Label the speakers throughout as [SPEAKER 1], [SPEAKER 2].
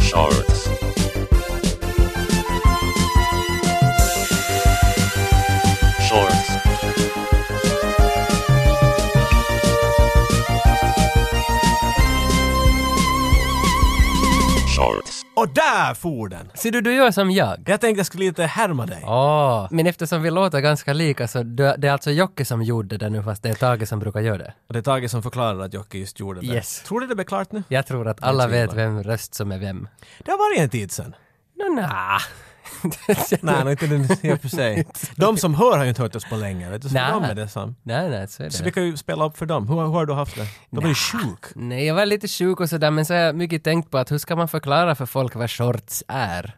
[SPEAKER 1] Shorts. Shorts. Shorts.
[SPEAKER 2] Och där for den!
[SPEAKER 3] Ser du, du gör som jag.
[SPEAKER 2] Jag tänkte jag skulle lite härma dig.
[SPEAKER 3] Åh, men eftersom vi låter ganska lika så det, det är alltså Jocke som gjorde det nu fast det är Tage som brukar göra det.
[SPEAKER 2] Och det är Tage som förklarar att Jocke just gjorde det.
[SPEAKER 3] Yes.
[SPEAKER 2] Tror du det blev klart nu?
[SPEAKER 3] Jag tror att alla
[SPEAKER 2] Jag tvivlar.
[SPEAKER 3] vet vem röst som är vem.
[SPEAKER 2] Det har varit en tid sen.
[SPEAKER 3] Nå, nja.
[SPEAKER 2] Nej, nog inte den i och för sig. De som hör har ju inte hört oss på länge, vet du. Så för
[SPEAKER 3] Nej.
[SPEAKER 2] dem är det som.
[SPEAKER 3] Nej, nej, så är det.
[SPEAKER 2] Så vi kan ju spela upp för dem. Hur, hur har du haft det? De är ju sjuk.
[SPEAKER 3] Nej, jag var lite sjuk och sådär men så har jag mycket tänkt på att hur ska man förklara för folk vad shorts är?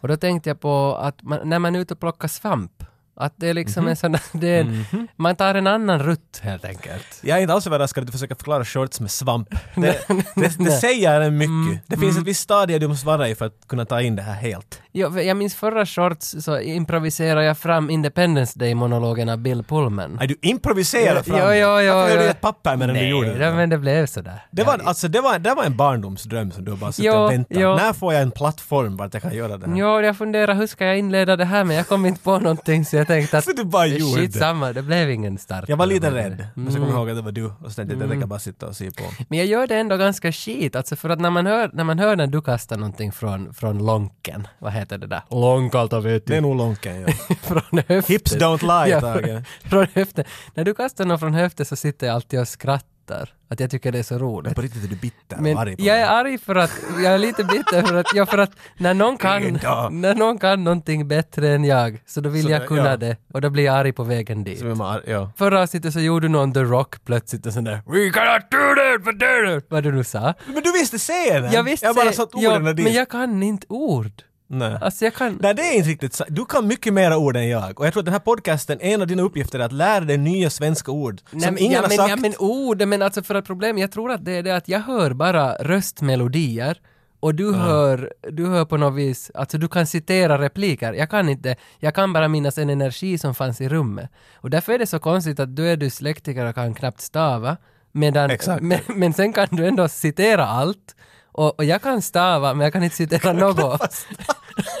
[SPEAKER 3] Och då tänkte jag på att man, när man är ute och plockar svamp, att det är liksom en sån där, det är en, man tar en annan rutt helt enkelt.
[SPEAKER 2] Jag är inte alls överraskad att du försöker förklara shorts med svamp. Det, det, det säger en mycket.
[SPEAKER 3] Mm,
[SPEAKER 2] Det finns ett visst stadie du måste vara i för att kunna ta in det här helt.
[SPEAKER 3] Ja, för jag minns förra shorts så improviserade jag fram Independence Day-monologen av Bill Pullman.
[SPEAKER 2] Nej, du improviserar fram
[SPEAKER 3] Jo, jo, jo,
[SPEAKER 2] Varför höll
[SPEAKER 3] jo.
[SPEAKER 2] du i ett papper medan du
[SPEAKER 3] Nej,
[SPEAKER 2] gjorde
[SPEAKER 3] det, men det blev sådär.
[SPEAKER 2] Det var, alltså, det, var, det var en barndomsdröm som du bara suttit
[SPEAKER 3] Ja,
[SPEAKER 2] och väntat.
[SPEAKER 3] ja.
[SPEAKER 2] När får jag en plattform vart jag kan göra det här?
[SPEAKER 3] Jo, jag funderar hur ska jag inleda det här men jag kom inte på någonting så jag tänkte att
[SPEAKER 2] Så du bara gjorde.
[SPEAKER 3] skitsamma, det blev ingen start.
[SPEAKER 2] Jag var lite rädd, men
[SPEAKER 3] Mm.
[SPEAKER 2] så kom jag ihåg att det var du och så tänkte jag att jag kan bara sitta och se på.
[SPEAKER 3] Men jag gör det ändå ganska skit, alltså för att när man hör när, man hör när du kastar någonting från, från lonken, vad heter det där? Långkalta vet
[SPEAKER 2] Det är nog Lonken, ja.
[SPEAKER 3] från höften.
[SPEAKER 2] Hips don't lie,
[SPEAKER 3] Ja,
[SPEAKER 2] Tage.
[SPEAKER 3] från höften. När du kastar någon från höften så sitter jag alltid och skrattar. Att jag tycker det är så roligt.
[SPEAKER 2] På riktigt är du bitter
[SPEAKER 3] Men
[SPEAKER 2] och arg på
[SPEAKER 3] jag
[SPEAKER 2] mig.
[SPEAKER 3] är arg för att, jag är lite bitter för att, ja, för att när, någon kan,
[SPEAKER 2] Ingen dag.
[SPEAKER 3] när någon kan någonting bättre än jag så då vill
[SPEAKER 2] Så det-
[SPEAKER 3] jag kunna
[SPEAKER 2] ja.
[SPEAKER 3] det och då blir jag arg på vägen dit.
[SPEAKER 2] Så är man arg, ja.
[SPEAKER 3] Förra avsnittet så gjorde någon The Rock plötsligt en sån där “We cannot do that, but do that!” vad du nu sa.
[SPEAKER 2] Men du visste scenen!
[SPEAKER 3] Jag visste,
[SPEAKER 2] jag bara satt
[SPEAKER 3] ja,
[SPEAKER 2] orden dit.
[SPEAKER 3] men jag kan inte ord.
[SPEAKER 2] Nej.
[SPEAKER 3] Alltså jag kan...
[SPEAKER 2] Nej, det är inte riktigt sant. Du kan mycket mera ord än jag. Och jag tror att den här podcasten, en av dina uppgifter är att lära dig nya svenska ord.
[SPEAKER 3] Nej,
[SPEAKER 2] som
[SPEAKER 3] men-
[SPEAKER 2] ingen
[SPEAKER 3] ja,
[SPEAKER 2] har
[SPEAKER 3] men,
[SPEAKER 2] sagt.
[SPEAKER 3] Ja, men ord, men alltså för att problem, jag tror att det är det att jag hör bara röstmelodier och du hör, du hör på något vis, alltså du kan citera repliker. Jag kan inte, jag kan bara minnas en energi som fanns i rummet. Och därför är det så konstigt att du är dyslektiker och kan knappt stava. Medan,
[SPEAKER 2] Exakt.
[SPEAKER 3] men, men sen kan du ändå citera allt. Och, och jag kan stava, men jag kan inte citera något.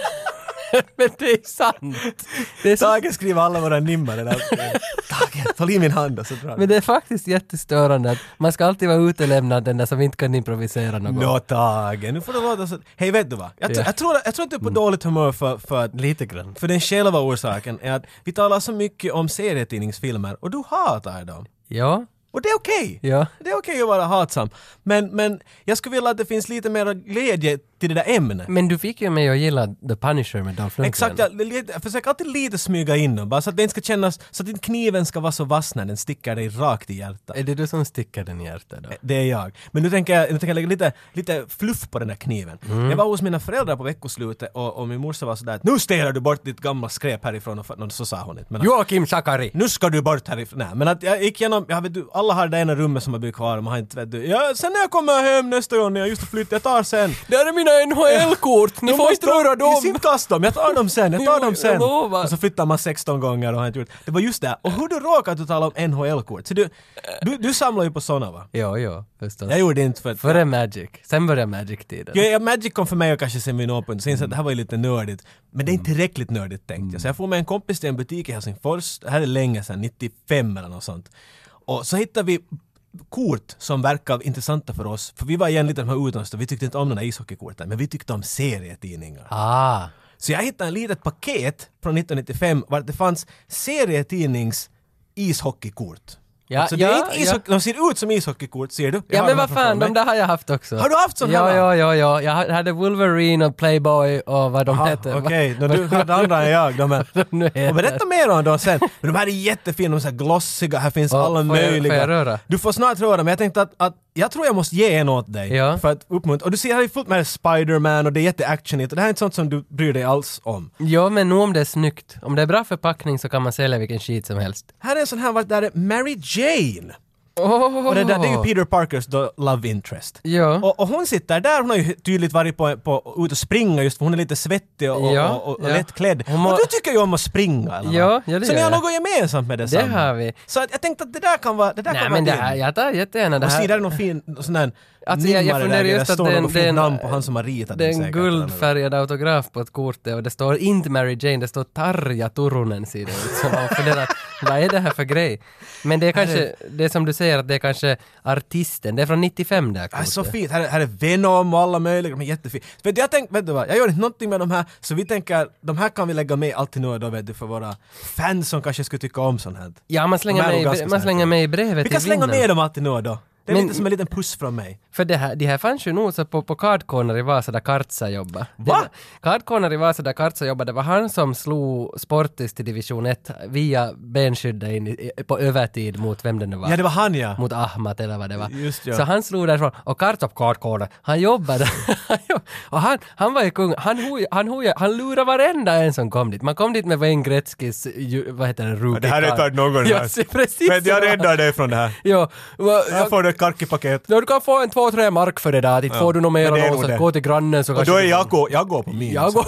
[SPEAKER 3] men det är sant. Det är så
[SPEAKER 2] Tage skriver alla våra nimmar. det där. Tage, håll i min hand och så drar
[SPEAKER 3] Men det är faktiskt jättestörande att man ska alltid vara utelämnad den där som inte kan improvisera något.
[SPEAKER 2] Nå Tage, nu får du låta så. Hej vet du vad? Jag, tr-
[SPEAKER 3] Ja. Mm.
[SPEAKER 2] jag, tror, jag tror att du är på dåligt humör för, för, att-
[SPEAKER 3] Lite grann.
[SPEAKER 2] för den själva orsaken är att vi talar så mycket om serietidningsfilmer och du hatar dem.
[SPEAKER 3] Ja,
[SPEAKER 2] Och det är okej!
[SPEAKER 3] ja.
[SPEAKER 2] Det är okej att vara hatsam. Men, men jag skulle vilja att det finns lite mer glädje till det där ämnet.
[SPEAKER 3] Men du fick ju mig att gilla The Punisher med Dolph Lundgren.
[SPEAKER 2] Exakt, jag, jag försöker alltid lite smyga in dem bara så att det inte ska kännas, så att inte kniven ska vara så vass när den sticker dig rakt i hjärtat.
[SPEAKER 3] Är det du som sticker den i hjärtat då?
[SPEAKER 2] Det är jag. Men nu tänker jag, nu tänker jag lägga lite, lite fluff på den där kniven. Jag var hos mina föräldrar på veckoslutet och, och min morsa var sådär att nu städar du bort ditt gamla skräp härifrån och, och så sa hon inte. Men att,
[SPEAKER 3] Joakim Sakari!
[SPEAKER 2] nu ska du bort härifrån. Nej, men att jag gick igenom, jag vet du, alla har det ena rummet som har blivit kvar, man har inte, vet du. Ja, sen när jag kommer hem nästa gång, när jag just har flyttat, jag tar sen.
[SPEAKER 3] Där är mina NHL-kort! Ni får inte röra
[SPEAKER 2] Jag
[SPEAKER 3] dem!
[SPEAKER 2] simkast dem, jag tar dem sen, jag tar
[SPEAKER 3] Jo,
[SPEAKER 2] dem
[SPEAKER 3] jag
[SPEAKER 2] sen.
[SPEAKER 3] lovar.
[SPEAKER 2] Och så flyttar man 16 gånger och har inte gjort. Det var just det. Och hur du råkade att du tala om NHL-kort. Så du, du, du samlar ju på såna va?
[SPEAKER 3] Ja, ja, förstås.
[SPEAKER 2] Jag gjorde inte för att...
[SPEAKER 3] Före Magic. Sen började Magic-tiden.
[SPEAKER 2] Ja, ja, Magic kom för mig och kanske sen vid något punkt, så insåg jag att det här var ju lite nördigt. Men det är inte
[SPEAKER 3] Mm.
[SPEAKER 2] tillräckligt nördigt tänkte jag. Så jag får med en kompis till en butik i Helsingfors, det här är länge sedan, 95 eller något sånt. Och så hittade vi kort som verkar intressanta för oss, för vi var igen lite de här utomstående, vi tyckte inte om de där ishockeykorten, men vi tyckte om serietidningar.
[SPEAKER 3] Ah,
[SPEAKER 2] Så jag hittade ett litet paket från 1995 var det fanns serietidnings ishockeykort.
[SPEAKER 3] Ja,
[SPEAKER 2] alltså det är
[SPEAKER 3] ja,
[SPEAKER 2] inte ishockey, de ser ut som ishockeykort ser du. Jag
[SPEAKER 3] ja
[SPEAKER 2] har
[SPEAKER 3] men
[SPEAKER 2] dem här
[SPEAKER 3] vad fan,
[SPEAKER 2] framför mig.
[SPEAKER 3] de där har jag haft också.
[SPEAKER 2] Har du haft såna
[SPEAKER 3] Ja,
[SPEAKER 2] här?
[SPEAKER 3] ja, ja, ja. Jag hade Wolverine och Playboy och vad de
[SPEAKER 2] Ah,
[SPEAKER 3] hette.
[SPEAKER 2] Okej, nå, du hade andra än jag. De är,
[SPEAKER 3] Nu heter-
[SPEAKER 2] och berätta mer om dem sen. Men de här är jättefina, de är så här glossiga, här finns
[SPEAKER 3] Ja,
[SPEAKER 2] alla
[SPEAKER 3] får jag-
[SPEAKER 2] möjliga.
[SPEAKER 3] får jag röra?
[SPEAKER 2] Du får snart röra, men jag tänkte att, att jag tror jag måste ge en åt dig.
[SPEAKER 3] Ja.
[SPEAKER 2] För att uppmuntra. Och du ser, här är fullt med Spiderman och det är jätteactionigt och det här är inte sånt som du bryr dig alls om.
[SPEAKER 3] Ja, men nog om det är snyggt. Om det är bra förpackning så kan man sälja vilken skit som helst.
[SPEAKER 2] Här är en sån här, vad där är Mary Jane.
[SPEAKER 3] Oh.
[SPEAKER 2] Och det där, det är ju Peter Parkers då, love interest.
[SPEAKER 3] Ja.
[SPEAKER 2] Och, och hon sitter där, hon har ju tydligt varit på, på, ute och springa just för hon är lite svettig och,
[SPEAKER 3] Ja,
[SPEAKER 2] och, och, och
[SPEAKER 3] ja.
[SPEAKER 2] lättklädd.
[SPEAKER 3] Hon må-
[SPEAKER 2] Och du tycker ju om att springa eller
[SPEAKER 3] Ja,
[SPEAKER 2] vad?
[SPEAKER 3] ja, det
[SPEAKER 2] Så ni
[SPEAKER 3] gör
[SPEAKER 2] har
[SPEAKER 3] jag.
[SPEAKER 2] något gemensamt med detsamma.
[SPEAKER 3] har vi.
[SPEAKER 2] Så att jag tänkte att det där kan vara, det där
[SPEAKER 3] Nej
[SPEAKER 2] kan vara
[SPEAKER 3] men det
[SPEAKER 2] din.
[SPEAKER 3] här, jag tar jättegärna det
[SPEAKER 2] Och se, där är
[SPEAKER 3] här.
[SPEAKER 2] någon fin sån där
[SPEAKER 3] Alltså, jag- jag
[SPEAKER 2] nimmare
[SPEAKER 3] funderar
[SPEAKER 2] där,
[SPEAKER 3] just
[SPEAKER 2] det
[SPEAKER 3] att
[SPEAKER 2] står
[SPEAKER 3] det är en-
[SPEAKER 2] något
[SPEAKER 3] det är
[SPEAKER 2] fint
[SPEAKER 3] en-
[SPEAKER 2] namn på han som har ritat
[SPEAKER 3] Det är
[SPEAKER 2] den
[SPEAKER 3] en
[SPEAKER 2] säkert. eller något.
[SPEAKER 3] guldfärgad autograf på ett kort där och det står inte Mary Jane, det står Tarja Turunen ser det ut som. Man funderar, vad är det här för grej? Men det är kanske, det är som du säger att det är kanske artisten, det är från 95 det här
[SPEAKER 2] Ja, Äh, så
[SPEAKER 3] kortet.
[SPEAKER 2] fint. Här är, här är Venom och alla möjliga, men jättefint. Vet du, jag tänkte, vet du vad, jag gör inte någonting med de här, så vi tänker, de här kan vi lägga med alltid nu och då vet du, för våra fans som kanske skulle tycka om sånt här.
[SPEAKER 3] Ja, man
[SPEAKER 2] De
[SPEAKER 3] slänger,
[SPEAKER 2] här är
[SPEAKER 3] mig, i
[SPEAKER 2] nog
[SPEAKER 3] bre-
[SPEAKER 2] ganska
[SPEAKER 3] man
[SPEAKER 2] snälla.
[SPEAKER 3] slänger mig i brevet
[SPEAKER 2] Vi kan
[SPEAKER 3] till
[SPEAKER 2] slänga
[SPEAKER 3] vinnaren.
[SPEAKER 2] med dem alltid nu och då. Det är
[SPEAKER 3] Men-
[SPEAKER 2] lite som en liten puss från mig.
[SPEAKER 3] För det här, de här fanns ju nog så på, på Card Corner i Vasa där Kartsa jobbade. Det
[SPEAKER 2] Va?
[SPEAKER 3] var- Card Corner i Vasa där Kartsa jobbade, det var han som slog Sportis till division 1 via benskyddet in i, i- på övertid mot vem det nu var.
[SPEAKER 2] Ja, det var han ja.
[SPEAKER 3] mot Ahmat eller vad det var.
[SPEAKER 2] Just ja.
[SPEAKER 3] Så han slog därifrån och Kartop Kartkåda, han jobbade. Han jobb- och han, han var ju kung, han, hoj, han, hoj, han lurade varenda en som kom dit. Man kom dit med Wayne Gretzkys, ju- vad heter den, rookie
[SPEAKER 2] Det här är
[SPEAKER 3] card.
[SPEAKER 2] inte någon
[SPEAKER 3] ja,
[SPEAKER 2] här.
[SPEAKER 3] se, precis. så.
[SPEAKER 2] dig från det här.
[SPEAKER 3] Ja, va- jag-
[SPEAKER 2] får du ett karkipaket.
[SPEAKER 3] Ja, du kan få en två, tre mark för det där. Inte får du något mer
[SPEAKER 2] men det är
[SPEAKER 3] än
[SPEAKER 2] nog
[SPEAKER 3] något.
[SPEAKER 2] det.
[SPEAKER 3] Gå till grannen så kanske... du-
[SPEAKER 2] går, jag går på min.
[SPEAKER 3] Jag går...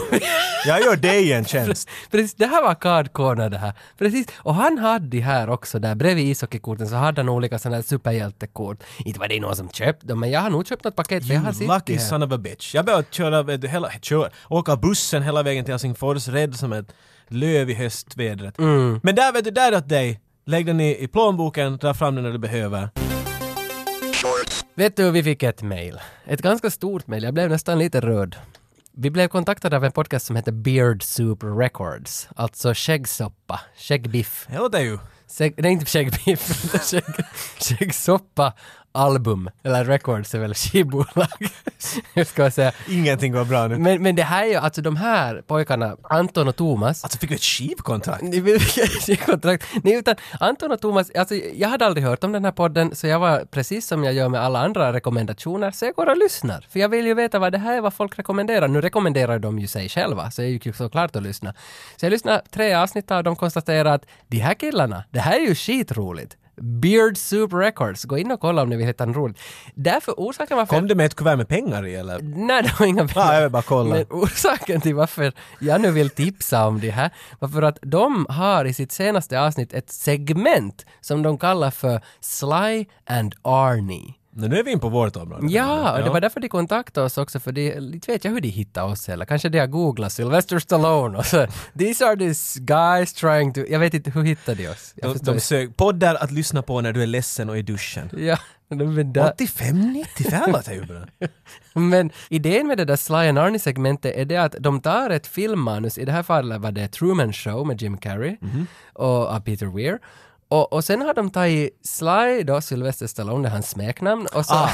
[SPEAKER 2] jag gör dig en tjänst.
[SPEAKER 3] Precis, det här var Card Corner det här. Precis, och han hade de här också där bredvid ishockeykorten så hade han olika sådana här superhjältekort. Inte var det någon som köpte dem, men jag har nog köpt något paket för jag har sett
[SPEAKER 2] Lucky
[SPEAKER 3] det här.
[SPEAKER 2] son of a bitch. Jag behöver köra, vet du, hela, köra, åka bussen hela vägen till Helsingfors rädd som ett löv i höstvädret.
[SPEAKER 3] Mm.
[SPEAKER 2] Men där vet du, där åt dig. Lägg den i, i plånboken, dra fram den när du behöver.
[SPEAKER 3] Vet du, vi fick ett mejl. Ett ganska stort mejl, jag blev nästan lite röd. Vi blev kontaktade av en podcast som heter Beard Soup Records, alltså skäggsoppa, skäggbiff.
[SPEAKER 2] Det låter ju...
[SPEAKER 3] Skägg, nej, inte skäggbiff, utan skägg- skäggsoppa album, eller records är väl skivbolag. Jag ska säga.
[SPEAKER 2] Ingenting går bra nu.
[SPEAKER 3] Men, men det här är ju, alltså de här pojkarna, Anton och Thomas,
[SPEAKER 2] Alltså fick vi ett skivkontrakt?
[SPEAKER 3] ni vill- ni kontrakt. Nej, utan Anton och Thomas, alltså, jag hade aldrig hört om den här podden, så jag var precis som jag gör med alla andra rekommendationer, så jag går och lyssnar. För jag vill ju veta vad det här är, vad folk rekommenderar. Nu rekommenderar de ju sig själva, så jag gick ju såklart att lyssna. Så jag lyssnade tre avsnitt av dem och konstaterade att de här killarna, det här är ju skitroligt. Beard Soup Records, gå in och kolla om ni vill hitta en roligt. Därför orsaken varför...
[SPEAKER 2] Kom du med ett kuvert med pengar i eller?
[SPEAKER 3] Nej, det var inga pengar.
[SPEAKER 2] jag vill bara kolla.
[SPEAKER 3] Men orsaken till varför jag nu vill tipsa om det här var för att de har i sitt senaste avsnitt ett segment som de kallar för Sly and Arnie.
[SPEAKER 2] Men nu är vi in på vårt område.
[SPEAKER 3] Ja, och det var därför de kontaktade oss också, för de, inte vet jag hur de hittade oss eller kanske de har googlat Sylvester Stallone och så “These are these guys trying to...” Jag vet inte, hur hittade de oss? Jag
[SPEAKER 2] De,
[SPEAKER 3] förstår
[SPEAKER 2] de
[SPEAKER 3] inte.
[SPEAKER 2] sög poddar att lyssna på när du är ledsen och i duschen.
[SPEAKER 3] Ja, men där,
[SPEAKER 2] 85, 90, det här låter ju bra.
[SPEAKER 3] Men idén med det där Sly and Arnie-segmentet är det att de tar ett filmmanus, i det här fallet var det Truman Show med Jim Carrey
[SPEAKER 2] Mhm.
[SPEAKER 3] och av Peter Weir. Och, och sen har de tagit Sly då, Sylvester Stallone, det är hans smeknamn. Och så,
[SPEAKER 2] Ah,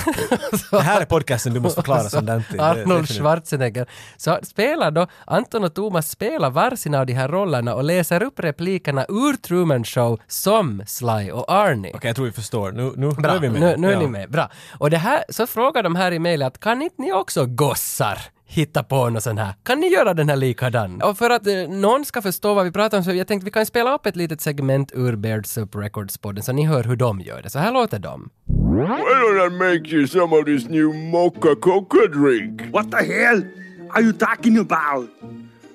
[SPEAKER 3] och så-
[SPEAKER 2] Det här är podcasten du måste förklara som den till. Det-
[SPEAKER 3] Arnold
[SPEAKER 2] definitivt.
[SPEAKER 3] Schwarzenegger. Så spelar då, Anton och Thomas spelar varsina av de här rollerna och läser upp replikerna ur Truman Show som Sly och Arnie.
[SPEAKER 2] Okej, jag tror vi förstår. Nu, nu, nu
[SPEAKER 3] Bra,
[SPEAKER 2] är vi med.
[SPEAKER 3] Nu, nu är
[SPEAKER 2] Ja.
[SPEAKER 3] ni med. Bra. Och det här, så frågar de här i mejlet att kan inte ni också gossar hitta på något sånt här? Kan ni göra den här likadan? Och för att eh, någon ska förstå vad vi pratar om så jag tänkte vi kan spela upp ett litet segment ur Baird Soup Records-podden så ni hör hur de gör det. Så här låter de.
[SPEAKER 4] Why don't I make you some of this new mocha coca drink?
[SPEAKER 5] What the hell are you talking about?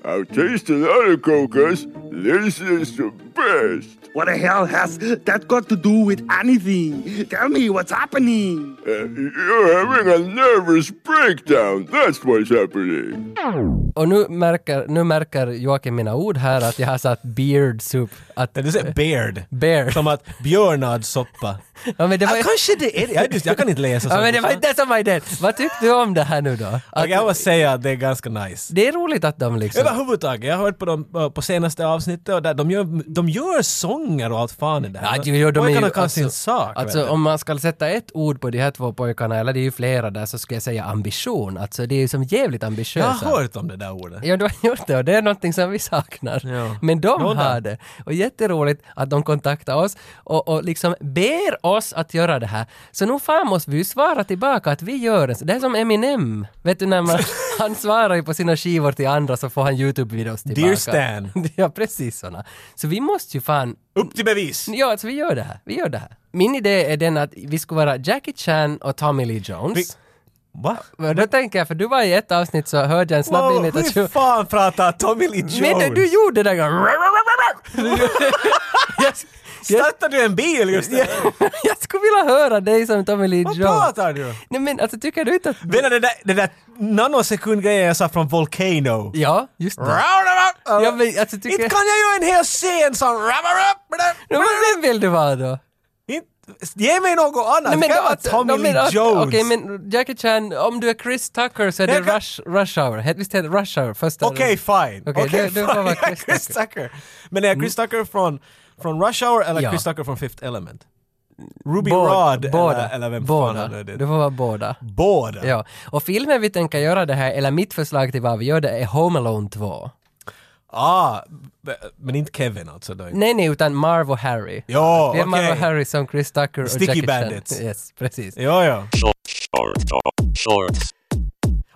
[SPEAKER 4] I've tasted other cocas. This is the best.
[SPEAKER 5] What the hell has that got to do with anything? Tell me what's happening.
[SPEAKER 4] Uh, you're having a nervous breakdown. That's what's happening.
[SPEAKER 3] Och nu märker, nu märker Joakim mina ord här att jag har satt Beard Soup. Att,
[SPEAKER 2] Men Du säger beard.
[SPEAKER 3] Beard.
[SPEAKER 2] Som att björnadsoppa.
[SPEAKER 3] ja, men det var,
[SPEAKER 2] Ja, kanske det är det. Jag, just, jag kan inte läsa
[SPEAKER 3] ja,
[SPEAKER 2] sånt.
[SPEAKER 3] men det var inte det som var idén. Vad tyckte du om det här nu då?
[SPEAKER 2] Jag
[SPEAKER 3] Att,
[SPEAKER 2] kan bara säga att det är ganska nice.
[SPEAKER 3] det är roligt att de liksom...
[SPEAKER 2] Överhuvudtaget, jag har hört på dem eh, på senaste avsnittet och där, de, gör, de gör sånger och allt fan i det här.
[SPEAKER 3] Ja, ju, ju, de är ju,
[SPEAKER 2] Alltså, Pojkarna kan sin sak. vet
[SPEAKER 3] alltså
[SPEAKER 2] du.
[SPEAKER 3] om man ska sätta ett ord på de här två pojkarna, eller det är ju flera där, så skulle jag säga ambition. Alltså det är ju som jävligt
[SPEAKER 2] jag
[SPEAKER 3] ambitiösa.
[SPEAKER 2] har hört om det där ordet.
[SPEAKER 3] Ja, du har gjort det och det är någonting som vi saknar.
[SPEAKER 2] Ja.
[SPEAKER 3] Men de
[SPEAKER 2] Någon
[SPEAKER 3] har
[SPEAKER 2] där.
[SPEAKER 3] det. Och jätteroligt att de kontaktar oss och, och liksom ber oss att göra det här. Så nu fan måste vi ju svara tillbaka att vi gör det. Det är som Eminem. Vet du när man, han svarar ju på sina skivor till andra så får han YouTube-videos tillbaka.
[SPEAKER 2] Dear Stan.
[SPEAKER 3] ja, precis såna. Så vi måste ju fan
[SPEAKER 2] Upp till bevis!
[SPEAKER 3] Ja, alltså vi gör det här. Vi gör det här. Min idé är den att vi ska vara Jackie Chan och Tommy Lee Jones.
[SPEAKER 2] Va?
[SPEAKER 3] Men Då tänker jag, för du var i ett avsnitt så hörde jag en snabb
[SPEAKER 2] Wow, hur
[SPEAKER 3] imitation.
[SPEAKER 2] fan pratar Tommy Lee Jones?
[SPEAKER 3] Men eh, du gjorde det där gången. jag, jag,
[SPEAKER 2] Startar du en bil just nu?
[SPEAKER 3] jag skulle vilja höra dig som Tommy Lee
[SPEAKER 2] Vad
[SPEAKER 3] Jones.
[SPEAKER 2] pratar du om?
[SPEAKER 3] Nej men alltså tycker du inte att...
[SPEAKER 2] Menar du den där, den där nanosekundgrejen jag sa från Volcano?
[SPEAKER 3] Ja, just det.
[SPEAKER 2] Roundabout!
[SPEAKER 3] Ja, men, alltså, tycker
[SPEAKER 2] Inte
[SPEAKER 3] jag-
[SPEAKER 2] kan jag göra en hel scen som...
[SPEAKER 3] Ja, men vem vill du vara då?
[SPEAKER 2] Inte- Ge mig något annat! det kan vara
[SPEAKER 3] att-
[SPEAKER 2] Alltså, Tommy
[SPEAKER 3] de- men
[SPEAKER 2] Lee
[SPEAKER 3] att-
[SPEAKER 2] Jones!
[SPEAKER 3] Okej, men Jackie Chan, om du är Chris Tucker så är det
[SPEAKER 2] Jag kan-
[SPEAKER 3] Rush, rush Hour. Het- Visst heter det Rush Hour? Första
[SPEAKER 2] Okej, fine.
[SPEAKER 3] Okej, du- du får
[SPEAKER 2] fine.
[SPEAKER 3] vara
[SPEAKER 2] Jag är
[SPEAKER 3] Chris Mm.
[SPEAKER 2] Chris Tucker. Men är jag Chris Tucker från, från Rush Hour eller
[SPEAKER 3] Ja.
[SPEAKER 2] Chris Tucker från Fifth Element? Ruby
[SPEAKER 3] Båda-
[SPEAKER 2] Rod
[SPEAKER 3] båda,
[SPEAKER 2] eller, eller vem
[SPEAKER 3] båda.
[SPEAKER 2] fan är det?
[SPEAKER 3] Du får vara båda.
[SPEAKER 2] Båda?
[SPEAKER 3] Ja. Och filmen vi tänker göra det här, eller mitt förslag till vad vi gör det är Home Alone 2.
[SPEAKER 2] Ah, b- men inte Kevin alltså då?
[SPEAKER 3] Nej, nej, utan Marv och Harry.
[SPEAKER 2] Ja,
[SPEAKER 3] det är Marv
[SPEAKER 2] okej.
[SPEAKER 3] och Harry som Chris Tucker och
[SPEAKER 2] Sticky
[SPEAKER 3] Jackie
[SPEAKER 2] Bandits. Eh.
[SPEAKER 3] Chan. Yes, precis.
[SPEAKER 2] Ja, ja.
[SPEAKER 1] Short, short, shorts.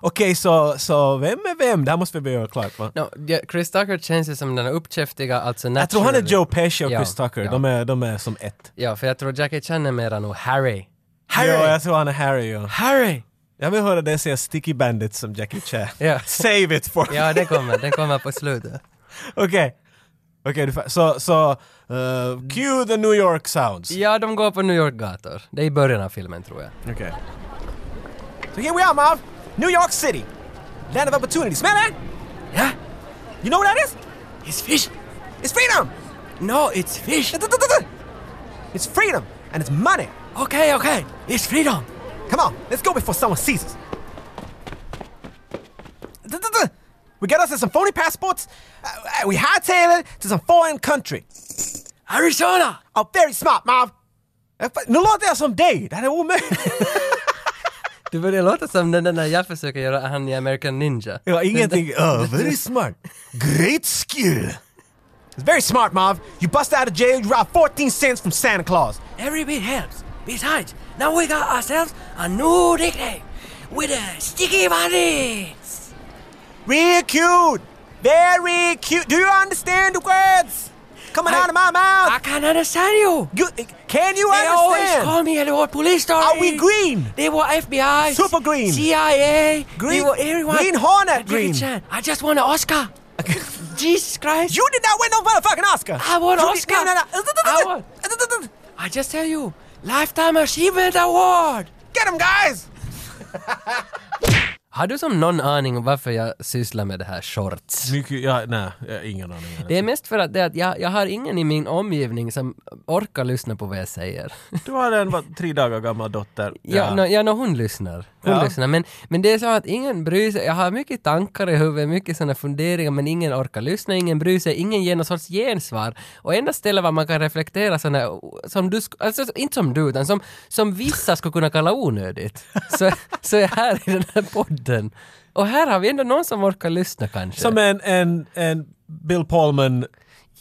[SPEAKER 2] Okej, så, så vem är vem? Det här måste vi börja göra klart va?
[SPEAKER 3] No, ja, Chris Tucker känns ju som den här uppkäftiga, alltså
[SPEAKER 2] Jag tror han är
[SPEAKER 3] naturally-
[SPEAKER 2] Joe Pesci och
[SPEAKER 3] Ja,
[SPEAKER 2] Chris Tucker.
[SPEAKER 3] ja.
[SPEAKER 2] De, är, de är som ett.
[SPEAKER 3] Ja, för jag tror Jackie Chan är mera nog Harry.
[SPEAKER 2] Harry! Ja, jag tror han är Harry ja.
[SPEAKER 3] Harry!
[SPEAKER 2] Jag vill höra dig säga Sticky Bandits som Jackie Chan.
[SPEAKER 3] Ja.
[SPEAKER 2] Save it for
[SPEAKER 3] Ja, det kommer, den kommer på slutet.
[SPEAKER 2] Okej. Okej, du fa- så, så, eh, cue the New York sounds.
[SPEAKER 3] Ja, de går på New York-gator. Det är i början av filmen tror jag.
[SPEAKER 2] Okej. So here we are, Marv. New York City. Land of opportunity. Smell that?
[SPEAKER 3] Yeah.
[SPEAKER 2] You know what that is?
[SPEAKER 3] It's fish!
[SPEAKER 2] It's freedom.
[SPEAKER 3] No, it's fish!
[SPEAKER 2] It's freedom and it's money.
[SPEAKER 3] Okej, okej! It's freedom!
[SPEAKER 2] Come on, let's go before someone sees us. We get us in some phony passports. Uh, uh, we hightail it to some foreign country.
[SPEAKER 3] Arizona!
[SPEAKER 2] Oh, very smart, Marv. Eh, fa- Nu låter jag som dig. Det här är omöjligt.
[SPEAKER 3] Du börjar låta som den där jag försöker göra, han i American Ninja.
[SPEAKER 2] Ja, ingenting. Oh, very smart. Great skill. It's very smart, Marv. You bust out of jail, you rob 14 cents from Santa Claus.
[SPEAKER 3] Every bit helps. Besides, now we got ourselves a new nickname with a sticky money!
[SPEAKER 2] Real cute. Very cute. Do you understand the words coming out of my mouth?
[SPEAKER 3] can understand you!
[SPEAKER 2] You- can you understand?
[SPEAKER 3] me at the police story!
[SPEAKER 2] Are we green?
[SPEAKER 3] They were FBI,
[SPEAKER 2] Super green.
[SPEAKER 3] CIA,
[SPEAKER 2] Green- Green Hornet
[SPEAKER 3] Jackie
[SPEAKER 2] green.
[SPEAKER 3] Chan. I just won an Oscar. Jesus Christ!
[SPEAKER 2] You did not win no motherfucking Oscar.
[SPEAKER 3] I won
[SPEAKER 2] You
[SPEAKER 3] Oscar.
[SPEAKER 2] Did, no, no, no.
[SPEAKER 3] I won. I just tell you, lifetime achievement award.
[SPEAKER 2] Get him, guys.
[SPEAKER 3] Har du som någon aning om varför jag sysslar med det här shorts?
[SPEAKER 2] Mycket, ja, nej, jag har ingen aning.
[SPEAKER 3] Det är mest för att, det är att jag, jag har ingen i min omgivning som orkar lyssna på vad jag säger.
[SPEAKER 2] Du har en vad, tre dagar gammal dotter.
[SPEAKER 3] Ja, nå- ja nå, hon lyssnar. Hon
[SPEAKER 2] Ja.
[SPEAKER 3] lyssnar. Men, men det är så att ingen bryr sig. Jag har mycket tankar i huvudet, mycket sådana funderingar, men ingen orkar lyssna, ingen bryr sig, ingen ger någon sorts gensvar. Och enda stället var man kan reflektera sådana, som du, sk- alltså inte som du, utan som, som vissa skulle kunna kalla onödigt. Så, så är jag här i den här podden. Och här har vi ändå någon som orkar lyssna kanske.
[SPEAKER 2] Som en, en, en Bill Pullman